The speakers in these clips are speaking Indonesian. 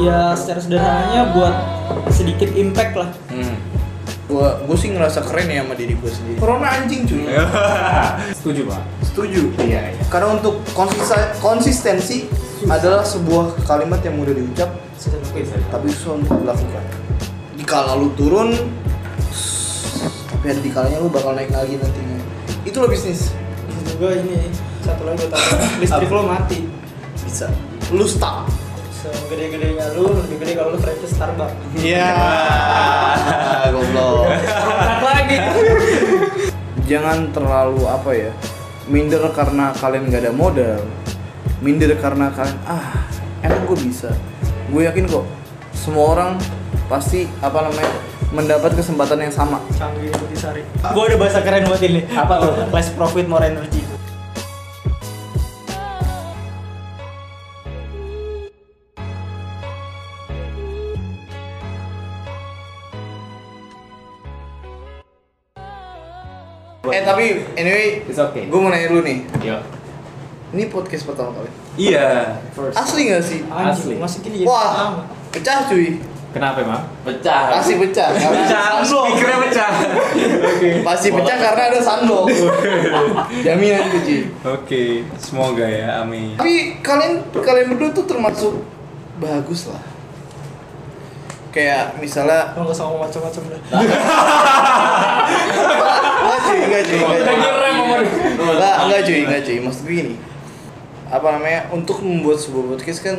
ya secara sederhananya buat sedikit impact lah Hmm. gua gua sih ngerasa keren ya sama diri gua sendiri corona anjing cuy Setuju pak. setuju Iya. iya. karena untuk konsisa- konsistensi adalah sebuah kalimat yang mudah diucap tapi susah untuk dilakukan dikala lu turun tapi ada dikalanya lu bakal naik lagi nantinya itulah bisnis juga ini satu lagi gue tahu listrik lo mati bisa lu stuck segede-gedenya lu lebih gede kalau lu franchise Starbucks iya goblok Kontrak lagi jangan terlalu apa ya minder karena kalian nggak ada modal minder karena kalian ah emang gue bisa gue yakin kok semua orang pasti apa namanya mendapat kesempatan yang sama canggih putih sari gue udah bahasa keren buat ini Apa lo? less profit more energy eh tapi anyway It's okay. gue mau nanya dulu nih Yo. ini podcast pertama kali Iya. First. asli nggak sih Anjing, Asli. masih gini jadi pertama. wah pecah cuy Kenapa emang? Pecah. pasti pecah Pecah. Mikirnya pecah. Oke. pasti pecah karena ada sandok jaminan itu cuy Oke. Semoga ya. Amin. tapi kalian kalian berdua tuh termasuk bagus lah kayak misalnya Lo gak sama macam-macam dah enggak cuy enggak cuy enggak cuy Ngerem, Omar. enggak enggak cuy enggak cuy maksud gue gini apa namanya untuk membuat sebuah podcast kan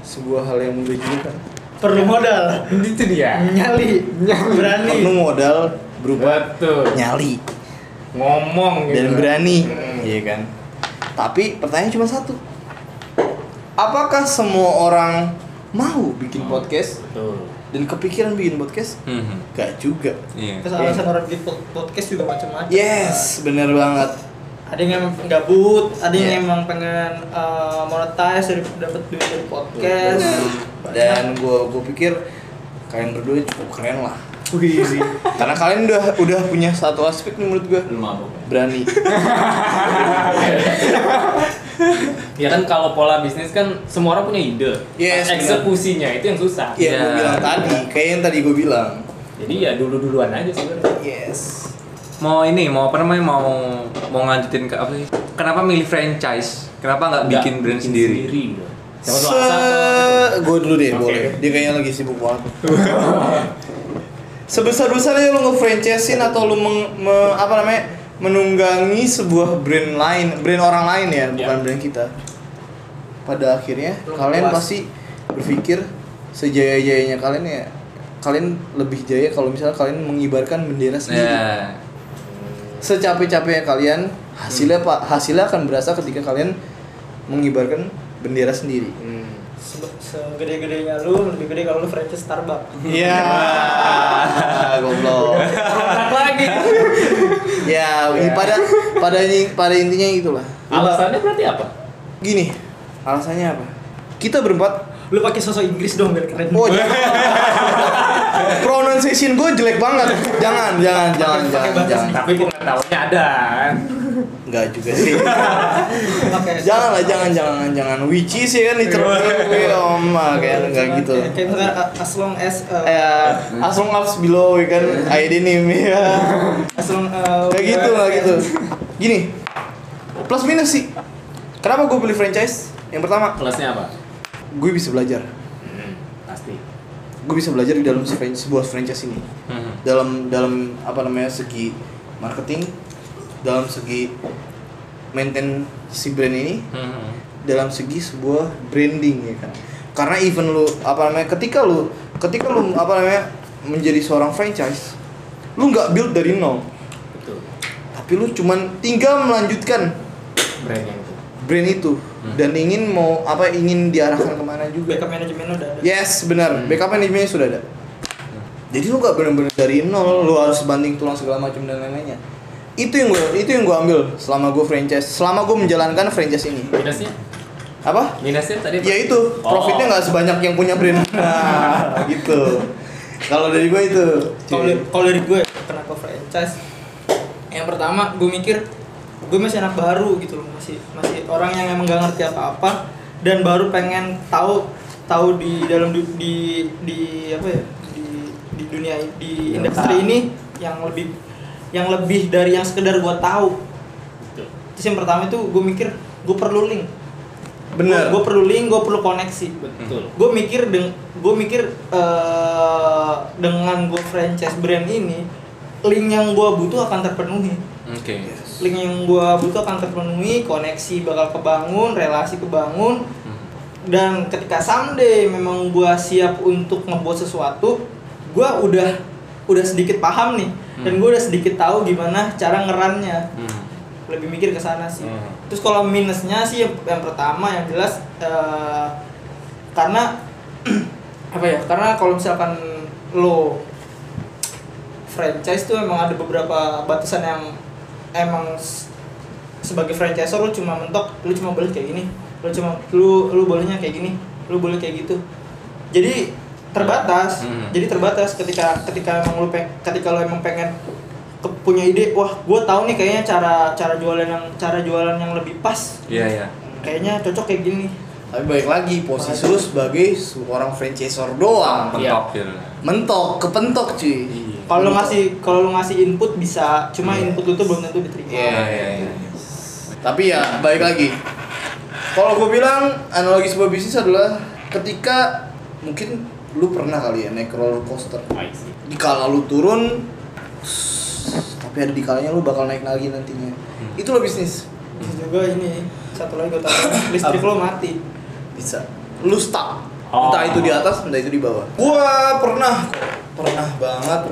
sebuah hal yang mudah juga kan perlu modal Itu dia. nyali berani perlu modal berupa Betul. nyali Ngomong gitu. dan berani Hmm. iya kan tapi pertanyaan cuma satu apakah semua orang mau Hmm. bikin podcast Betul. dan kepikiran bikin podcast Hmm. gak juga Iya. kesalahan orang di pod- podcast juga macam-macam yes bener banget ada yang emang gabut ada Yeah. yang emang pengen uh, monetize dari dapat duit dari podcast dan gue gue pikir kalian berdua cukup keren lah karena kalian udah udah punya satu aspek nih menurut gue Belum mabuk ya? berani Ya kan kalau pola bisnis kan semua orang punya ide. Yes, benar. Eksekusinya itu yang susah. ya gue bilang tadi kayak yang tadi gue bilang Jadi ya dulu-duluan aja sebenarnya. yes Mau ini, mau apa namanya? Mau mau lanjutin ke apa sih? Kenapa milih franchise? Kenapa nggak bikin brand sendiri? udah. Siapa tuh asal tuh? se gue dulu deh gitu? Oke. boleh dia kayaknya lagi sibuk banget sebesar besarnya lo nge-franchisein atau lo meng, me- apa namanya menunggangi sebuah brand lain brand orang lain ya bukan Ya. brand kita pada akhirnya Lo kalian puas. pasti berpikir sejaya-jayanya kalian ya kalian lebih jaya kalau misalnya kalian mengibarkan bendera sendiri Ya. secapek-capeknya kalian hasilnya Hmm. pak hasilnya akan berasa ketika kalian mengibarkan bendera sendiri Hmm. Se- segede-gedenya lu lebih gede kalau lu franchise Starbucks Iya, goblok. kontrak lagi Ya, ini pada pada ini- pada intinya itulah. Alasannya berarti apa? Gini, alasannya apa? Kita berempat. lu pakai sosok Inggris dong biar keren Oh, jangan. pronunciation gue jelek banget. Jangan, jangan, jangan, jangan, jangan. Tapi pengetahuannya ada kan. Enggak juga sih. pakai Jangan lah, jangan, jangan, jangan. Which is ya kan literally om, kayak enggak gitu. kayak kayak misalkan uh, as long as uh, Eh, as long as below ya kan ID name ya. as long uh, Gak we gitu, are- gak gitu. Gini, plus minus sih. Kenapa gue pilih franchise? Yang pertama, Plusnya apa? gue bisa belajar. Pasti. Gue bisa belajar di dalam se- sebuah franchise ini. Mhm. Dalam dalam apa namanya segi marketing, dalam segi maintain si brand ini, Mhm. dalam segi sebuah branding ya kan. Karena even lu apa namanya ketika lu ketika lu apa namanya menjadi seorang franchise, lu nggak build dari nol, Betul. tapi lu cuman tinggal melanjutkan Brand yang itu. brand itu dan ingin mau apa ingin diarahkan kemana juga backup manajemen udah ada yes benar backup manajemennya sudah ada jadi lu gak bener-bener dari nol lu harus banding tulang segala macam dan lain-lainnya itu yang gue itu yang gue ambil selama gue franchise selama gue menjalankan franchise ini Minusnya? apa Minusnya tadi apa? ya itu profitnya nggak sebanyak yang punya brand nah gitu kalau dari gue itu kalau Iya. dari- kalau dari gue kenapa franchise yang pertama gue mikir gue masih anak baru gitu loh masih masih orang yang emang gak ngerti apa apa dan baru pengen tahu tahu di dalam du- di di apa ya di di dunia di industri ini yang lebih yang lebih dari yang sekedar gua tahu Oh, Betul. terus yang pertama itu gue mikir gue perlu link Bener. gue perlu link gue perlu koneksi Betul. gue mikir deng gue mikir eh, dengan gue franchise brand ini link yang gue butuh akan terpenuhi Oke. link yang gue butuh akan terpenuhi koneksi bakal kebangun relasi kebangun Hmm, dan ketika someday memang gue siap untuk ngebuat sesuatu gue udah udah sedikit paham nih dan gue udah sedikit tahu gimana cara ngerannya Hmm. lebih mikir ke sana sih. Hmm. Terus kalau minusnya sih yang, yang pertama yang jelas eh, karena apa ya? Karena kalau misalkan lo franchise tuh emang ada beberapa batasan yang emang s- sebagai franchisor lo cuma mentok, lo cuma boleh kayak gini, lo cuma lu lu bolehnya kayak gini, lu boleh kayak gitu. Jadi terbatas. Hmm. Jadi terbatas ketika ketika emang lu peng- ketika lo emang pengen ke- punya ide, wah gue tahu nih kayaknya cara cara jualan yang cara jualan yang lebih pas. Iya iya. Kayaknya cocok kayak gini. Tapi balik lagi posisi lu sebagai seorang franchisor doang. Iya. Mentok gitu. Mentok, kepentok cuy. Iya. Kalau lo ngasih kalau lo ngasih input bisa, cuma Iya. input lo tuh belum tentu diterima. Iya. Iya iya iya. Tapi ya balik lagi. Kalau gue bilang analogi sebuah bisnis adalah ketika mungkin lu pernah kali ya naik roller coaster. I see. Di kala lu turun, tapi ada di kalanya lu bakal naik lagi nantinya. Itulah bisnis. Terus juga ini satu lagi gue tahu listrik lo mati. Bisa. Lu stuck. Oh. Entah itu di atas, entah itu di bawah. Gua pernah, pernah banget.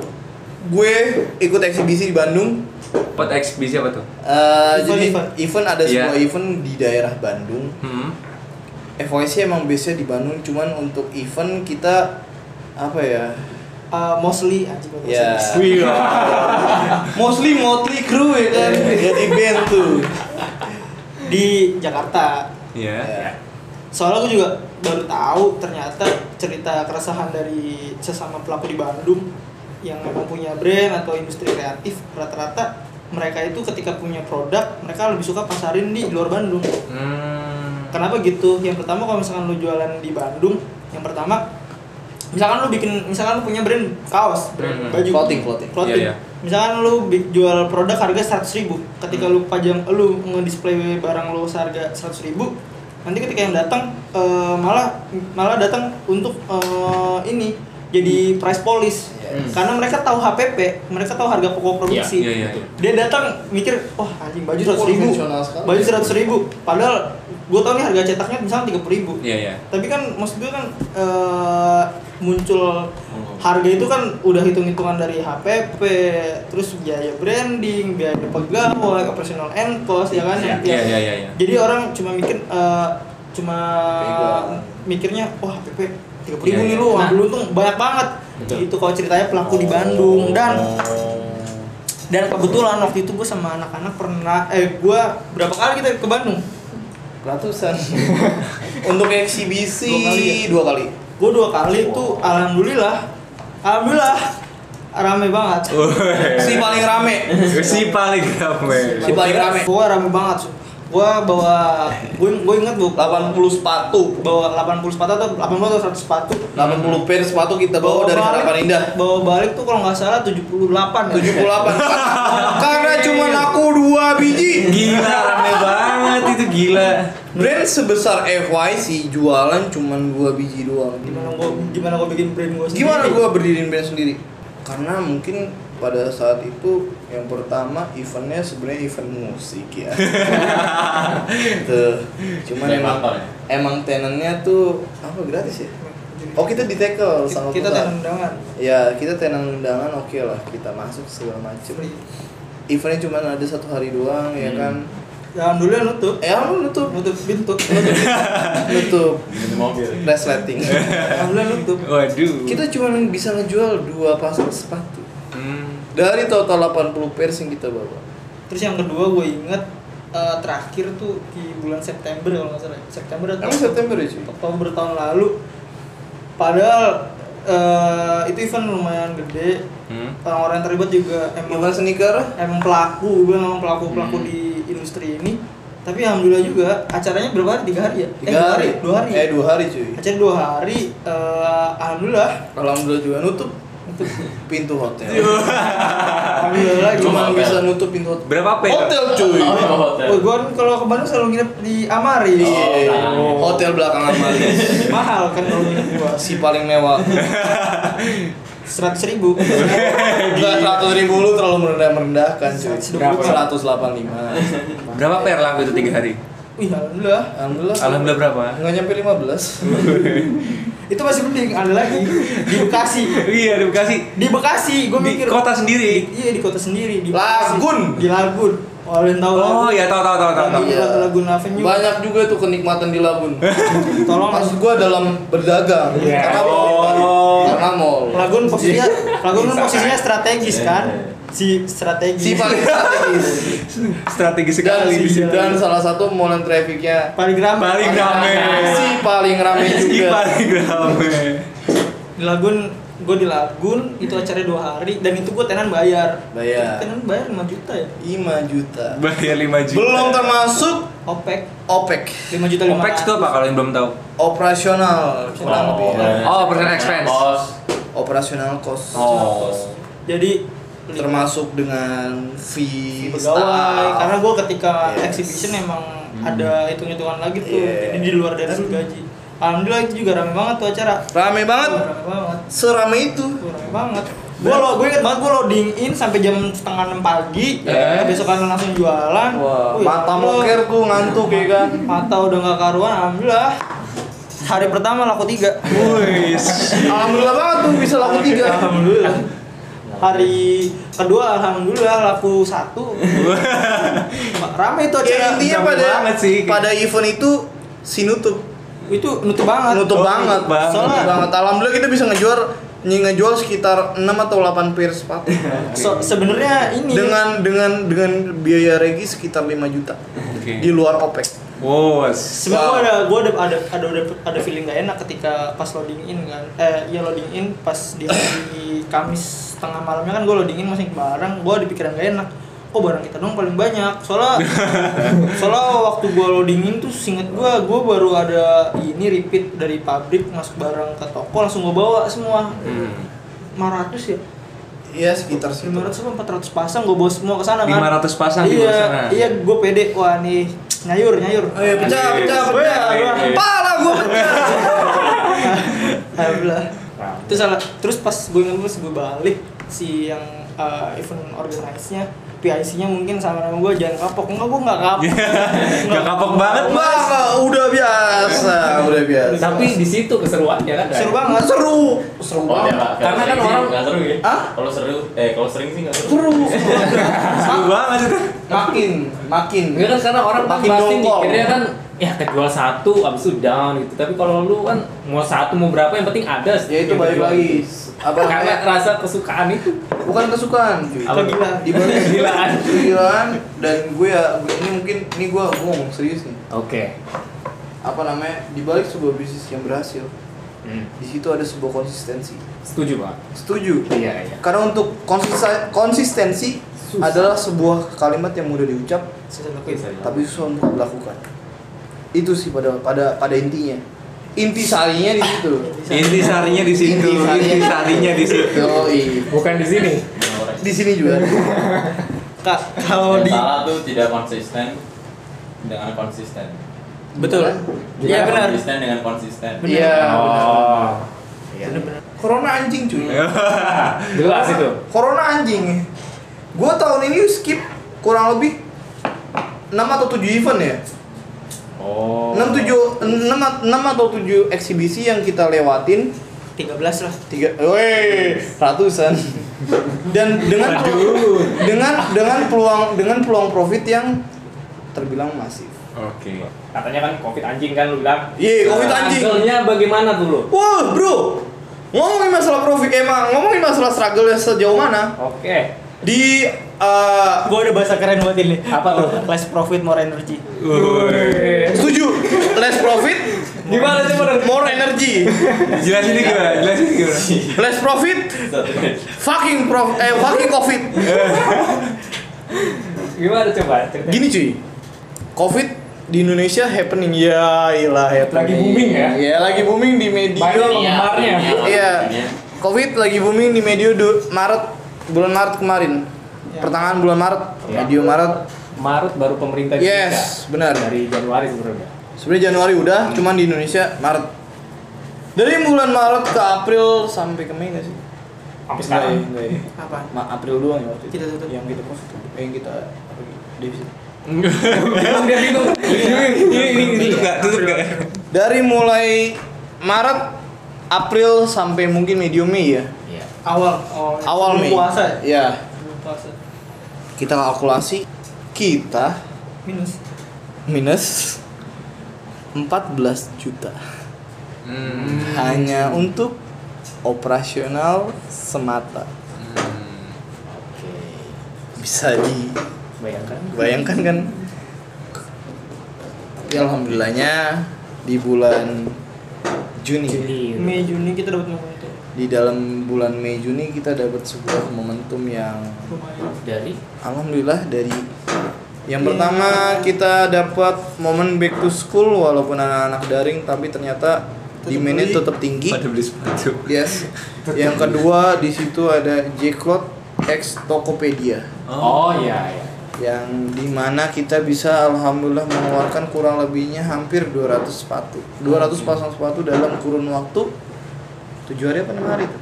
Gue ikut eksibisi di Bandung. Pot eksibisi apa tuh? Eh, Event, jadi event. event, ada Iya. sebuah event di daerah Bandung. Hmm. FYC emang biasanya di Bandung, cuman untuk event kita apa ya? Eh, mostly anjing Iya. gua Ya. mostly. Mostly Motley Crew ya kan. Jadi band tuh. di Jakarta. Iya. Ya. Soalnya gue juga baru tahu ternyata cerita keresahan dari sesama pelaku di Bandung yang memang punya brand atau industri kreatif rata-rata mereka itu ketika punya produk mereka lebih suka pasarin di luar Bandung. Hmm. Kenapa gitu? Yang pertama kalau misalkan lu jualan di Bandung, yang pertama misalkan lu bikin misalkan lu punya brand kaos, brand Hmm, baju, clothing, clothing. clothing. Iya, iya. Misalkan lu bi- jual produk harga 100.000 ketika lu Hmm. pajang lu ngedisplay barang lu seharga 100.000 nanti ketika yang datang eh, malah malah datang untuk eh, ini Hmm. jadi price police. Yes. Karena mereka tahu HPP, mereka tahu harga pokok produksi Iya iya. iya. dia datang mikir wah anjing baju Itu seratus ribu konvensional sekali. baju seratus ribu padahal gue tau nih harga cetaknya misalnya tiga puluh ribu Iya iya. tapi kan maksud gue kan eh, muncul harga itu kan udah hitung hitungan dari HPP terus biaya branding biaya pegawai operational and cost ya kan Iya, Iya iya iya. iya. jadi orang cuma mikir eh, cuma Pegang. mikirnya wah HPP tiga puluh Iya, ribu nih iya. lu wah Nah. lu untung banyak banget Betul. itu kalau ceritanya pelaku di Bandung dan dan kebetulan waktu itu gue sama anak-anak pernah eh gue berapa kali kita ke Bandung ratusan. untuk eksibisi dua kali. gue dua kali itu alhamdulillah alhamdulillah rame banget Oh. Si paling rame. si paling rame. Si paling rame. gue rame banget gue bawa gue gue inget bu 80 sepatu. bawa 80 sepatu atau 80 atau 100 sepatu 80 pair sepatu kita bawa dari balik- Harapan Indah. bawa balik tuh kalau nggak salah 78 ya? 78 karena cuman aku dua biji. Gila rame banget itu gila. Brand sebesar FYC jualan cuman dua biji doang. gimana gue gimana gue bikin brand gue sendiri Gimana gua berdiriin brand sendiri? Karena mungkin pada saat itu yang pertama eventnya sebenarnya event musik ya. Tuh. Cuman Kayak emang kantor ya? emang tenannya tuh apa gratis ya? Oh kita di tackle sama kita pusat. tahan undangan Ya kita tenan undangan oke lah kita masuk segala macem. Eventnya cuma ada satu hari doang ya Hmm. kan. alhamdulillah nutup Eh lu nutup nutup pintu nutup nutup Minum mobil. resleting. alhamdulillah nutup Waduh. kita cuma bisa ngejual dua pasang sepatu Hmm. dari total 80 pairs yang kita bawa. Terus yang kedua gue inget eh, terakhir tuh di bulan September kalau nggak salah ya. September atau Emang September ya cuy? Oktober tahun lalu. Padahal eh, itu event lumayan gede. Hmm. Orang-orang yang terlibat juga emang Gimana sneaker? Hmm. emang pelaku, gue emang pelaku pelaku di industri ini. tapi alhamdulillah juga acaranya berapa hari tiga hari ya eh, Tiga hari, dua hari Eh dua hari cuy. acara dua hari eh, alhamdulillah Alhamdulillah juga nutup pintu hotel. alhamdulillah Cuma gimana Hotel. bisa nutup pintu hotel. Berapa ya? P? Hotel cuy. Oh, hotel. Oh, gua kan kalau ke Bandung selalu nginep di Amari. Iya. Oh. Hotel belakangan malis. Mahal kan kalau nginep gua. Si paling mewah. 100 ribu. Enggak seratus ribu lu terlalu merendah merendahkan cuy. 120. Seratus delapan lima. Berapa PR lah itu tiga hari? Wih, alhamdulillah. Alhamdulillah. Alhamdulillah berapa? Nggak nyampe lima belas. Itu masih mending ada lagi di Bekasi. Iya, di Bekasi. Di Bekasi, gua Di mikir kota sendiri. Di- Iya, di kota sendiri di Bekasi. Lagun. Di Lagun. Oh, lu yang tahu Oh iya, tahu tahu tahu tahu. tahu. Iya. Lagun Avenue. Banyak juga tuh kenikmatan di Labun. Tolong Maksud gua dalam berdagang. Iya. Karena Oh. Karena mall. Lagun posisinya Lagun kan Bisa. posisinya strategis Iya, kan? iya. Si strategis. Si paling strategis. Strategis dan, sekali. si- dan salah satu mall yang trafficnya paling ramai. Paling ramai. Si paling rame Si juga. paling ramai. di Lagun gue di Lagun itu acara dua hari dan itu gue tenan bayar Bayar. tenan bayar 5 juta ya 5 juta. Bayar 5 juta. Belum termasuk OPEC OPEC, 5 juta lima OPEX itu apa kalau yang belum tahu? operasional kurang lebih ya. Oh, personal expense. Kos. Operasional cost. Oh. jadi Termasuk dengan fee, lima staff. pegawai karena gue ketika Yes. exhibition emang ada hitung hitungan lagi tuh Yeah. jadi di luar dari Dan- si gaji alhamdulillah itu juga rame banget tuh acara rame banget, rame banget serame itu. Gua rame banget gue lo gue inget banget gue loading in sampai jam setengah enam pagi Yes. besok langsung jualan Wih, Wah, mata alhamdulillah. moker tuh Oh. ngantuk ya kan. mata udah nggak karuan alhamdulillah hari pertama laku tiga Wis. Alhamdulillah banget tuh bisa laku tiga. Alhamdulillah. Hari kedua alhamdulillah laku satu. Rame itu Ya acara. intinya Rame pada banget sih. pada event itu si nutup Itu nutup banget. nutup Oh, banget nutup banget. Soalnya banget alhamdulillah kita bisa ngejual ngejual sekitar 6 atau 8 pair sepatu So, sebenarnya ini dengan dengan dengan biaya regi sekitar 5 juta di Oke. luar OPEC Wos. sebenarnya Wow. gua ada gua ada ada ada ada, ada feeling gak enak ketika pas loading in kan. Eh, iya loading in pas di hari Kamis tengah malamnya kan gua loading in masih barang, gua ada pikiran gak enak. Oh barang kita dong paling banyak. Soalnya soalnya waktu gua loading in tuh singet gua gua baru ada ini repeat dari pabrik masuk barang ke toko langsung gua bawa semua. Hmm. 500 ya? Iya sekitar situ. 500 apa 400 pasang gua bawa semua ke sana kan. 500 pasang dibawa iya, sana. Iya, gua pede. Wah, nih nyayur nyayur. Ayo Oh, iya, pecah pecah pecah. Pala gua pecah. Alhamdulillah. Terus salah. Terus pas gue ingat pas gue balik si yang uh, event organize-nya PIC-nya mungkin sama nama gue jangan kapok. Enggak, gue enggak kapok. Iya. Gak kapok banget, Bang. Masa udah biasa, udah biasa. Tapi di situ keseruannya kan. Seru banget. seru, seru Oh, banget. nggak- Karena nggak kan sering sih, orang- nggak seru ya. Hah? Kalau seru, eh kalau sering sih nggak seru. Seru. Seru banget itu. Makin, makin. Enggak kan karena orang kan Makin pasti dongkol. mikirnya kan ya kejual satu abis itu down gitu. Tapi kalau lu kan mau satu mau berapa yang penting ada. Ya itu yang balik kejual. lagi. Apa Karena namanya? rasa kesukaan itu Bukan kesukaan, cuy. Apa gila? Dibalik Kegilaan. kegilaan dan gue ya ini mungkin ini gue ngomong serius nih. Oke. Apa namanya? Dibalik sebuah bisnis yang berhasil, Hmm. di situ ada sebuah konsistensi. Setuju pak. Setuju. Iya iya. Karena untuk konsisten- konsistensi Susah. adalah sebuah kalimat yang mudah diucap Saya lakuin. tapi susah untuk dilakukan. Itu sih pada pada pada intinya. Inti sarinya di situ. Inti sarinya di situ. Intisarinya. Inti sarinya di situ. Yoi. bukan di sini. Di sini juga. Kak, kalau Yang di Iya. salah tuh tidak konsisten dengan konsisten. Betul. Tidak Iya benar. Konsisten dengan konsisten. Benar. Iya. Oh. Benar-benar. Corona anjing Ya. cuy. Jelas itu. Ah. Corona anjing. Gue tahun ini skip kurang lebih 6 atau 7 event ya. Oh. 6 7 6, atau 7 eksibisi yang kita lewatin 13 lah. tiga woi ratusan dan dengan dengan dengan peluang dengan peluang profit yang terbilang masif Oke. Katanya kan covid anjing kan lu bilang. Iya, covid anjing. Angelnya bagaimana tuh lu? wah bro ngomongin masalah profit emang ngomongin masalah struggle sejauh mana Oke. di eh, Gue ada bahasa keren buat ini. Apa tuh? Less profit more energy. setuju less profit Gimana sih bener? more energy Jelasin ini gimana? Jelasin ini gimana? less profit fucking prof eh fucking covid Gimana coba? Ceritain. gini cuy Covid di Indonesia happening ya ilah Lagi happening. booming ya? Iya, lagi booming di media. Banyak Iya, penggemarnya. Iya. iya. Covid lagi booming di media du- Maret bulan Maret kemarin. Iya. Pertengahan bulan Maret, Iya. medio Maret. Maret baru pemerintah Yes, benar. Indonesia. dari Januari sebenarnya. Sebenarnya Januari Hmm. udah, cuman di Indonesia Maret. Dari bulan Maret ke April sampai ke Mei nggak sih? Sampai sekarang. Nggak ya, nggak ya. apa Ma- April doang ya waktu itu. Kita tutup. Yang kita covid, eh, yang kita apa gitu, defisit. Dia bingung. Tutup nggak? Tutup nggak? Dari mulai Maret, April sampai mungkin medio Mei ya. Iya. awal awal, Awal Sebelum Mei. Oh, puasa ya? Iya. Sebelum puasa Kita kalkulasi kita minus minus 14 juta Hmm. hanya untuk operasional semata. Oke. Bisa di Bayangkan. bayangkan kan ya alhamdulillahnya di bulan Juni Juni. Mei Juni kita dapat momentum di dalam bulan Mei Juni kita dapat sebuah momentum yang lumayan Dari alhamdulillah dari yang pertama kita dapat momen back to school walaupun anak-anak daring tapi ternyata Tetap demandnya beli. tetap tinggi Pada beli sepatu. yes yang kedua di situ ada Jclot X Tokopedia Oh, iya iya. yang dimana kita bisa alhamdulillah mengeluarkan kurang lebihnya hampir 200 sepatu 200 pasang sepatu dalam kurun waktu 7 hari apa 6 hari itu?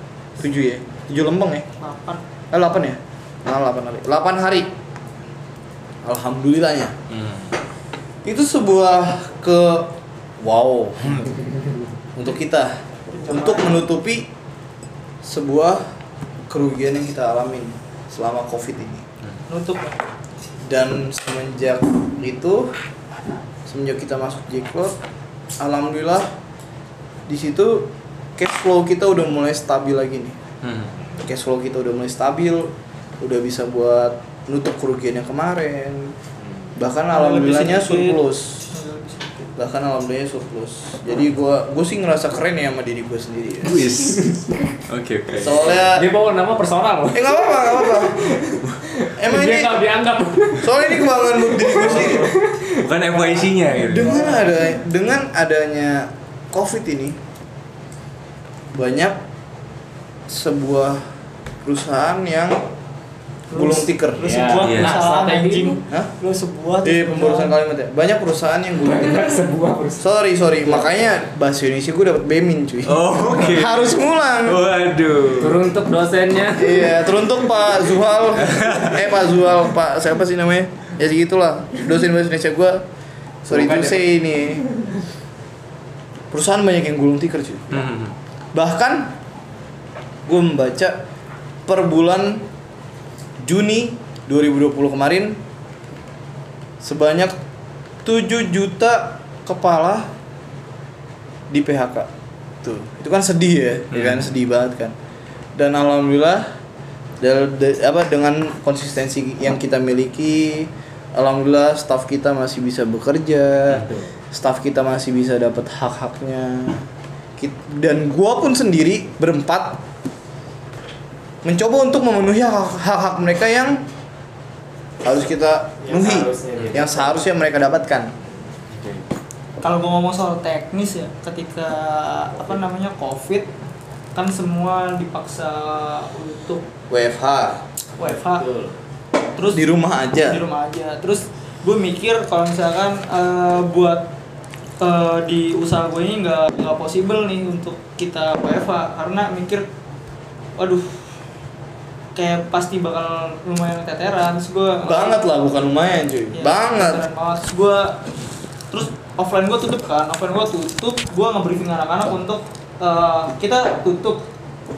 7 ya? 7 lembeng ya? lapar Eh 8 ya? Nah, 8 hari 8 hari Alhamdulillahnya Hmm. itu sebuah ke wow untuk kita untuk menutupi sebuah kerugian yang kita alamin selama covid ini nutup ya? dan semenjak itu semenjak kita masuk Jclot alhamdulillah di situ cash flow kita udah mulai stabil lagi nih Hmm. cash flow kita udah mulai stabil udah bisa buat nutup kerugian yang kemarin bahkan Kalau lebih alhamdulillahnya sedikit. surplus Nggak bisa. bahkan alhamdulillahnya surplus jadi gua gua sih ngerasa keren ya sama diri gua sendiri ya. Wis. Oke oke. soalnya Dia bawa nama personal. eh nggak apa-apa nggak apa-apa emang dia ini nggak dianggap. soalnya ini kebanggaan buat diri gua sendiri Bukan FYC-nya gitu. dengan ada dengan adanya covid ini banyak sebuah perusahaan yang gulung tikar lu sebuah Iya. kesalahan Strategi anjing lu. Hah? lu sebuah di pembarusan kalimat ya banyak perusahaan yang gulung tikar Sebuah perusahaan. sorry sorry makanya bahasa Indonesia gue dapat bemin cuy Oh, oke. Oh. harus ngulang Waduh. Teruntuk dosennya. Iya, teruntuk Pak Zuhal. eh Pak Zuhal, Pak siapa sih namanya? Ya segitulah. Dosen bahasa Indonesia gua sorry to Bukan ya. say ini. Perusahaan banyak yang gulung tikar cuy. Hmm. Bahkan gua membaca per bulan Juni 2020 kemarin sebanyak 7 juta kepala di PHK. Tuh, itu kan sedih ya, ya kan Hmm. sedih banget kan. Dan alhamdulillah dal- de- apa dengan konsistensi yang kita miliki, alhamdulillah staff kita masih bisa bekerja. Staff kita masih bisa dapat hak-haknya. Kit- Dan gua pun sendiri berempat mencoba untuk memenuhi hak- hak-hak mereka yang harus kita Yang penuhi, seharusnya dia yang dapat. seharusnya mereka dapatkan. kalau gua ngomong soal teknis ya ketika apa namanya covid kan semua dipaksa untuk WFH WFH Iya. Betul. terus di rumah aja. di rumah aja terus gue mikir kalau misalkan eh, buat eh, di usaha gue ini nggak nggak possible nih untuk kita WFA karena mikir waduh kayak pasti bakal lumayan keteteran terus gue Banget lah, bukan lumayan cuy. Iya. Banget. Iya, banget terus gue terus offline gue tutup kan offline gue tutup gue ngebriefing anak-anak untuk eh, kita tutup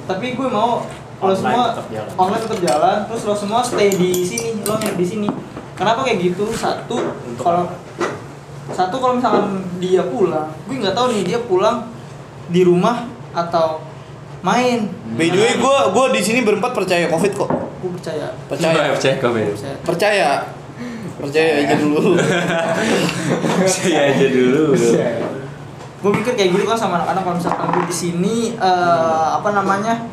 tapi gue mau lo Online semua tetap jalan. online tetap jalan terus lo semua stay di sini lo nginep di sini kenapa kayak gitu satu Untuk kalau satu kalau misalkan dia pulang gue nggak tahu nih dia pulang di rumah atau main By the way, gue gua di sini berempat percaya covid kok. gue percaya Percaya. Percaya. Percaya komen. percaya Percaya. Percaya aja dulu. Percaya aja dulu. gue mikir kayak gitu kan sama anak-anak kalau misalkan gue di sini eh, apa namanya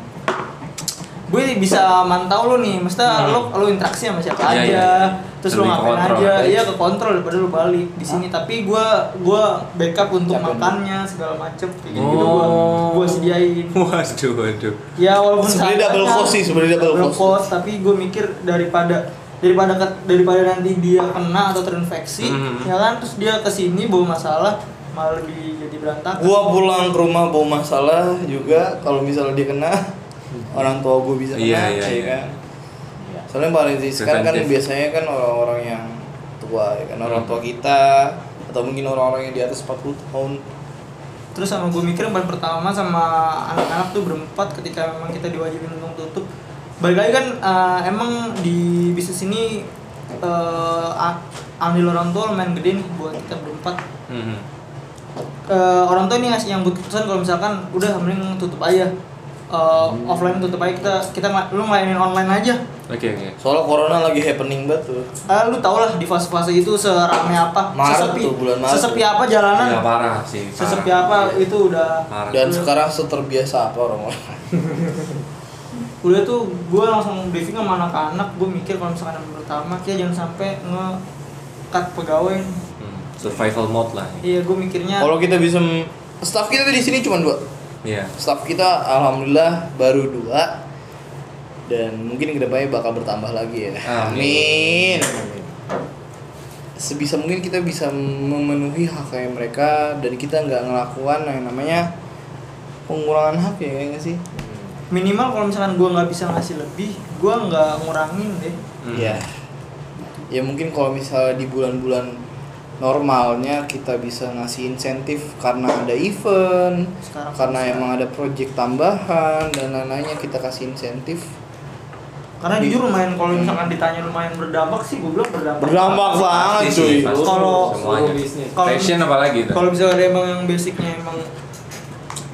gue bisa mantau lo nih, mestinya lo lo interaksi sama siapa Hmm. Iya, aja, iya, iya. terus lu Lebih ngapain kontrol. Ah. aja iya ke kontrol daripada lu balik di sini tapi gua gua backup untuk Capek. makannya segala macem kayak gitu, gitu gua Oh. gua sediain Waduh, waduh. ya walaupun Sebenarnya seadanya, double cost sih, sebenarnya double cost. tapi gue mikir daripada daripada ke- daripada nanti dia kena atau terinfeksi Hmm. Mhm. ya kan terus dia kesini bawa masalah malah lebih jadi berantakan Gua pulang ke rumah bawa masalah juga kalau misalnya dia kena orang tua gua bisa kena, Iya, iya, ya iya. kan. Soalnya paling sih sekarang kan Preventif. biasanya kan orang-orang yang tua, ya kan orang tua kita atau mungkin orang-orang yang di atas 40 tahun. terus sama gue mikir yang paling pertama sama anak-anak tuh berempat ketika memang kita diwajibin untuk tutup balik lagi kan eh, emang di bisnis ini eh, a- andil orang tua lumayan gede nih buat kita berempat Mhm. Eh, orang tua ini ngasih yang buat keputusan kalau misalkan udah mending tutup aja Eh, offline tutup aja kita kita nggak- lu ngelayanin online aja Oke, oke. Soalnya corona lagi happening banget tuh. Ah, lu tau lah di fase-fase itu serame apa Maret sesepi tuh, bulan Maret sesepi tuh. Iya, apa jalanan Ya parah sih. parah. Iya, sesepi apa itu udah Parah. Dan sekarang seterbiasa apa orang-orang. udah tuh gue langsung briefing sama anak-anak gue mikir kalau misalkan yang pertama kita jangan sampai nge-cut pegawai Hmm, Survival mode lah. iya gue mikirnya Kalau kita bisa m- staff kita tuh di sini cuma dua. Iya. Staff kita alhamdulillah baru dua dan mungkin kedepannya bakal bertambah lagi ya. Amin. Amin. Sebisa mungkin kita bisa memenuhi hak hak mereka dan kita nggak ngelakukan yang namanya pengurangan hak ya kayaknya sih. minimal kalau misalkan gue nggak bisa ngasih lebih gue nggak ngurangin deh Hmm. Iya. Ya. Ya mungkin kalau misalnya di bulan-bulan normalnya kita bisa ngasih insentif karena ada event, Sekarang karena bisa. emang ada project tambahan dan lain-lainnya kita kasih insentif. karena Di- Hmm. jujur lumayan kalau misalkan ditanya lumayan berdampak sih gue bilang berdampak Berdampak banget Pasti cuy. sih, pasti. Kalau- semuanya Seluruh bisnis. Kalau- fashion apalagi itu. kalau misalkan ada emang yang basicnya emang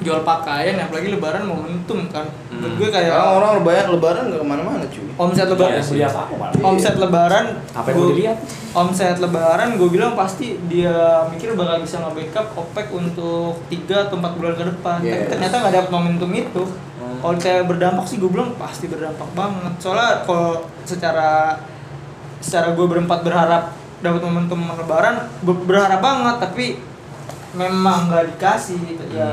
jual pakaian apalagi lebaran momentum kan menurut gue kayak Sekarang orang lebaran lebaran nggak kemana-mana cuy. omset Lebaran lebaran Iya sih. beli apa aku malah. omset lebaran Apa yang gua- mau dilihat? omset lebaran gue bilang pasti dia mikir bakal bisa nge-backup OPEC untuk 3 atau 4 bulan ke depan tapi Yes. ternyata nggak dapet momentum itu Hmm. kalau saya berdampak sih gue bilang pasti berdampak banget soalnya kalau secara secara gue berempat berharap dapat momentum lebaran ber- berharap banget tapi memang nggak dikasih gitu. Hmm. ya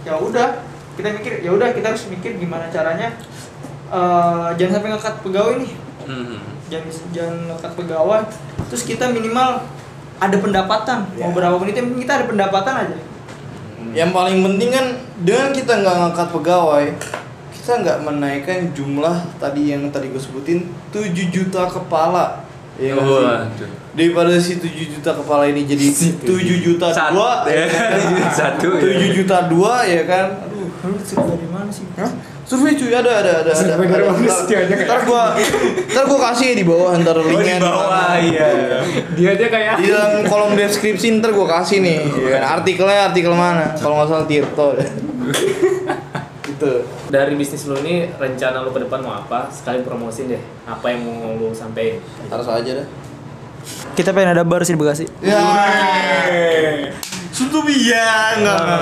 ya udah kita mikir ya udah kita harus mikir gimana caranya eh, jangan sampai ngekat pegawai nih Mhm. jangan jangan lekat pegawai terus kita minimal ada pendapatan mau Ya. berapa menit yang penting kita ada pendapatan aja Ya. Yang paling penting kan dengan kita nggak ngangkat pegawai, kita nggak menaikkan jumlah tadi yang tadi gue sebutin 7 juta kepala. Iya nggak sih? Waduh. Daripada si 7 juta kepala ini jadi 7 juta Sat- dua ya. Satu. ya. 7 juta dua ya kan. Aduh. lu suka dari mana sih Hah? Survei cuy ada ada ada ada. Survei dari ada. mana sih, ya? Ntar- dia aja Ntar gua ntar gua kasih di bawah antar Oh, linknya. di bawah mana. iya. Dia dia kayak Di dalam kolom deskripsi ntar gua kasih nih. ya kan? Artikelnya artikel mana? Kalau nggak salah Tirto. gitu. dari bisnis lu ini rencana lu ke depan mau apa? Sekali promosin deh. Apa yang mau lu sampein? Harus aja dah. kita pengen ada bar sih di Bekasi Ya. Suntu biar enggak Nah,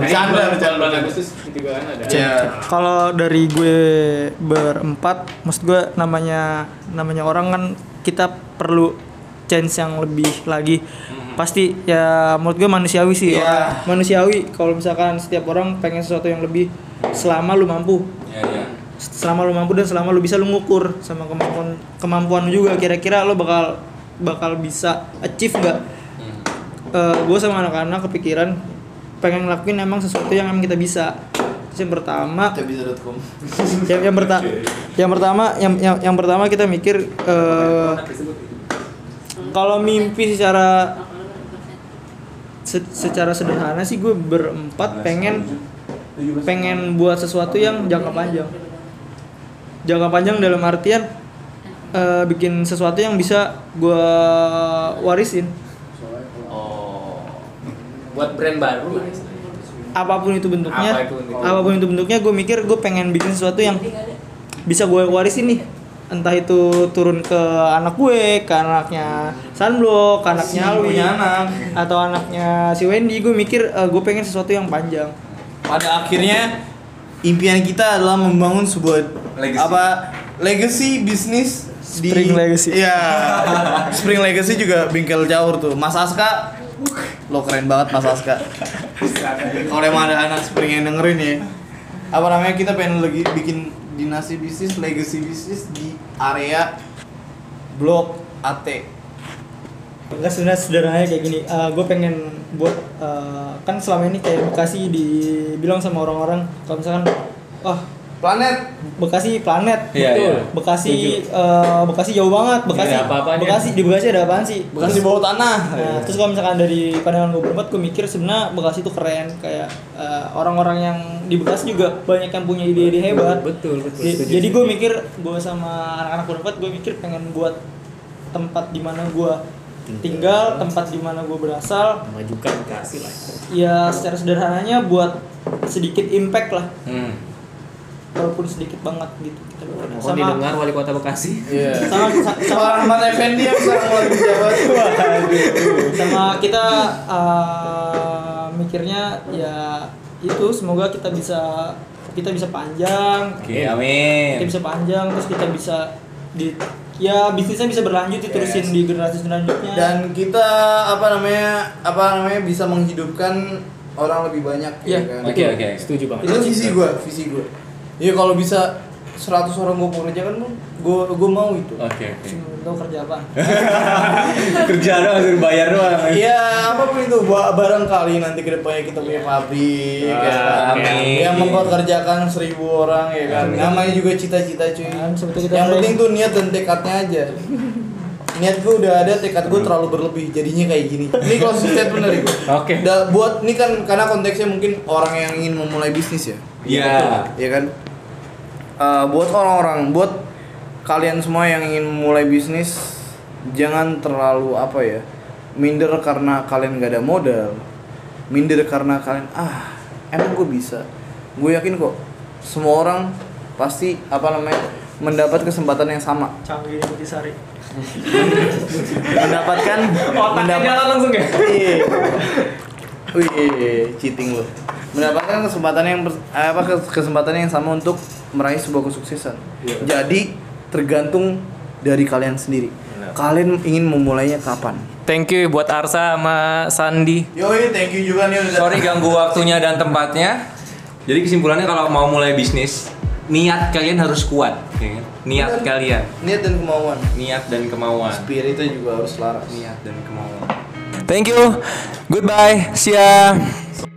Bercanda, bercanda. Bulan Agustus juga kan ada. Iya. kalau dari gue berempat maksud gue namanya namanya orang kan kita perlu chance yang lebih lagi pasti ya menurut gue manusiawi sih Iya. orang. manusiawi kalau misalkan setiap orang pengen sesuatu yang lebih selama lu mampu Iya, iya. selama lu mampu dan selama lu bisa lu ngukur sama kemampuan kemampuan lu juga kira-kira lu bakal bakal bisa achieve nggak gue sama anak-anak kepikiran pengen ngelakuin emang sesuatu yang emang kita bisa Terus yang pertama Tabisa.com. yang, yang, perta- yang pertama yang, yang yang pertama kita mikir eh, kalau mimpi secara se- secara sederhana sih gue berempat pengen pengen buat sesuatu yang jangka panjang jangka panjang dalam artian eh, bikin sesuatu yang bisa gue warisin Oh. Buat brand baru lah istilahnya. apapun itu bentuknya Apa itu bentuknya? apapun itu bentuknya gue mikir gue pengen bikin sesuatu yang bisa gue warisin nih entah itu turun ke anak gue ke anaknya Sunblock ke anaknya Alwi anak. atau anaknya si Wendy gue mikir gue pengen sesuatu yang panjang pada akhirnya impian kita adalah membangun sebuah Legacy. apa legacy bisnis Spring Legacy. Iya. Spring Legacy juga bingkel jauh tuh. Mas Aska lo keren banget Mas Aska. Kalau emang ada anak Spring yang dengerin ya. Apa namanya kita pengen lagi bikin dinasti bisnis, legacy bisnis di area blok AT. Enggak sebenarnya sederhananya kayak gini. gue pengen buat eh, kan selama ini kayak Bekasi dibilang sama orang-orang kalau misalkan wah Planet Bekasi planet. Iya, Betul. iya. Bekasi eh, Bekasi jauh banget. Bekasi Nggak Iya, ada apa-apanya. Iya, Bekasi di Bekasi ada apaan sih? Bekasi bawah tanah. Nah, terus kalau misalkan dari pandangan gue berempat, gue mikir sebenarnya Bekasi itu keren. Kayak eh, orang-orang yang di Bekasi juga banyak yang punya ide-ide Iya, hebat. Betul, betul. Jadi- Setuju, Jadi gue setuju. mikir, gue sama anak-anak berempat, gue mikir pengen buat tempat di mana gue tinggal, tempat di mana gue berasal. majukan kasih lah. Ya secara sederhananya buat sedikit impact lah, Hmm. walaupun sedikit banget gitu. Kita berharap. Mohon Sama didengar wali kota Bekasi. Iya. sama sa- sama Sama Ahmad Effendi yang sekarang lagi menjabat. sama kita eh, mikirnya ya itu semoga kita bisa kita bisa panjang Oke, amin. kita bisa panjang terus kita bisa di ya bisnisnya bisa berlanjut diterusin di generasi selanjutnya Dan kita apa namanya apa namanya bisa menghidupkan orang lebih banyak Iya. kan? Oke, oke. Setuju banget. itu visi gue visi gue ya kalau bisa 100 orang gue pekerja kan gue gue mau itu Oke, oke. lo kerja apa Kerja doang suruh bayar doang. Iya, apapun itu ba- barangkali nanti kedepannya kita punya pabrik, ya kan? amin. yang mempekerjakan seribu orang, ya kan? Namanya juga cita-cita cuy. Kan, seperti kita yang mulai- penting tuh niat dan tekadnya aja. Niat gue udah ada, tekad gue terlalu berlebih, jadinya kayak gini. Ini closing statement dari gue. Oke. Da- buat ini kan karena konteksnya mungkin orang yang ingin memulai bisnis ya. Iya. ya kan Eh, buat orang-orang buat kalian semua yang ingin mulai bisnis jangan terlalu apa ya minder karena kalian gak ada modal minder karena kalian ah emang gue bisa gue yakin kok semua orang pasti apa namanya mendapat kesempatan yang sama canggih di Butisari mendapatkan Otaknya jalan langsung ya. Iya. Wih, cheating lo. Mendapatkan kesempatan yang pers- apa kes- kesempatan yang sama untuk meraih sebuah kesuksesan. Jadi tergantung dari kalian sendiri. Kalian ingin memulainya kapan? Thank you buat Arsa sama Sandi. Yoi, thank you juga nih udah Sorry ganggu waktunya dan tempatnya. Jadi kesimpulannya kalau mau mulai bisnis, niat kalian harus kuat, ya kan? Niat Benar. kalian, Niat dan kemauan. niat dan kemauan. Spiritnya juga harus laras. Niat dan kemauan. Thank you. Goodbye. See ya.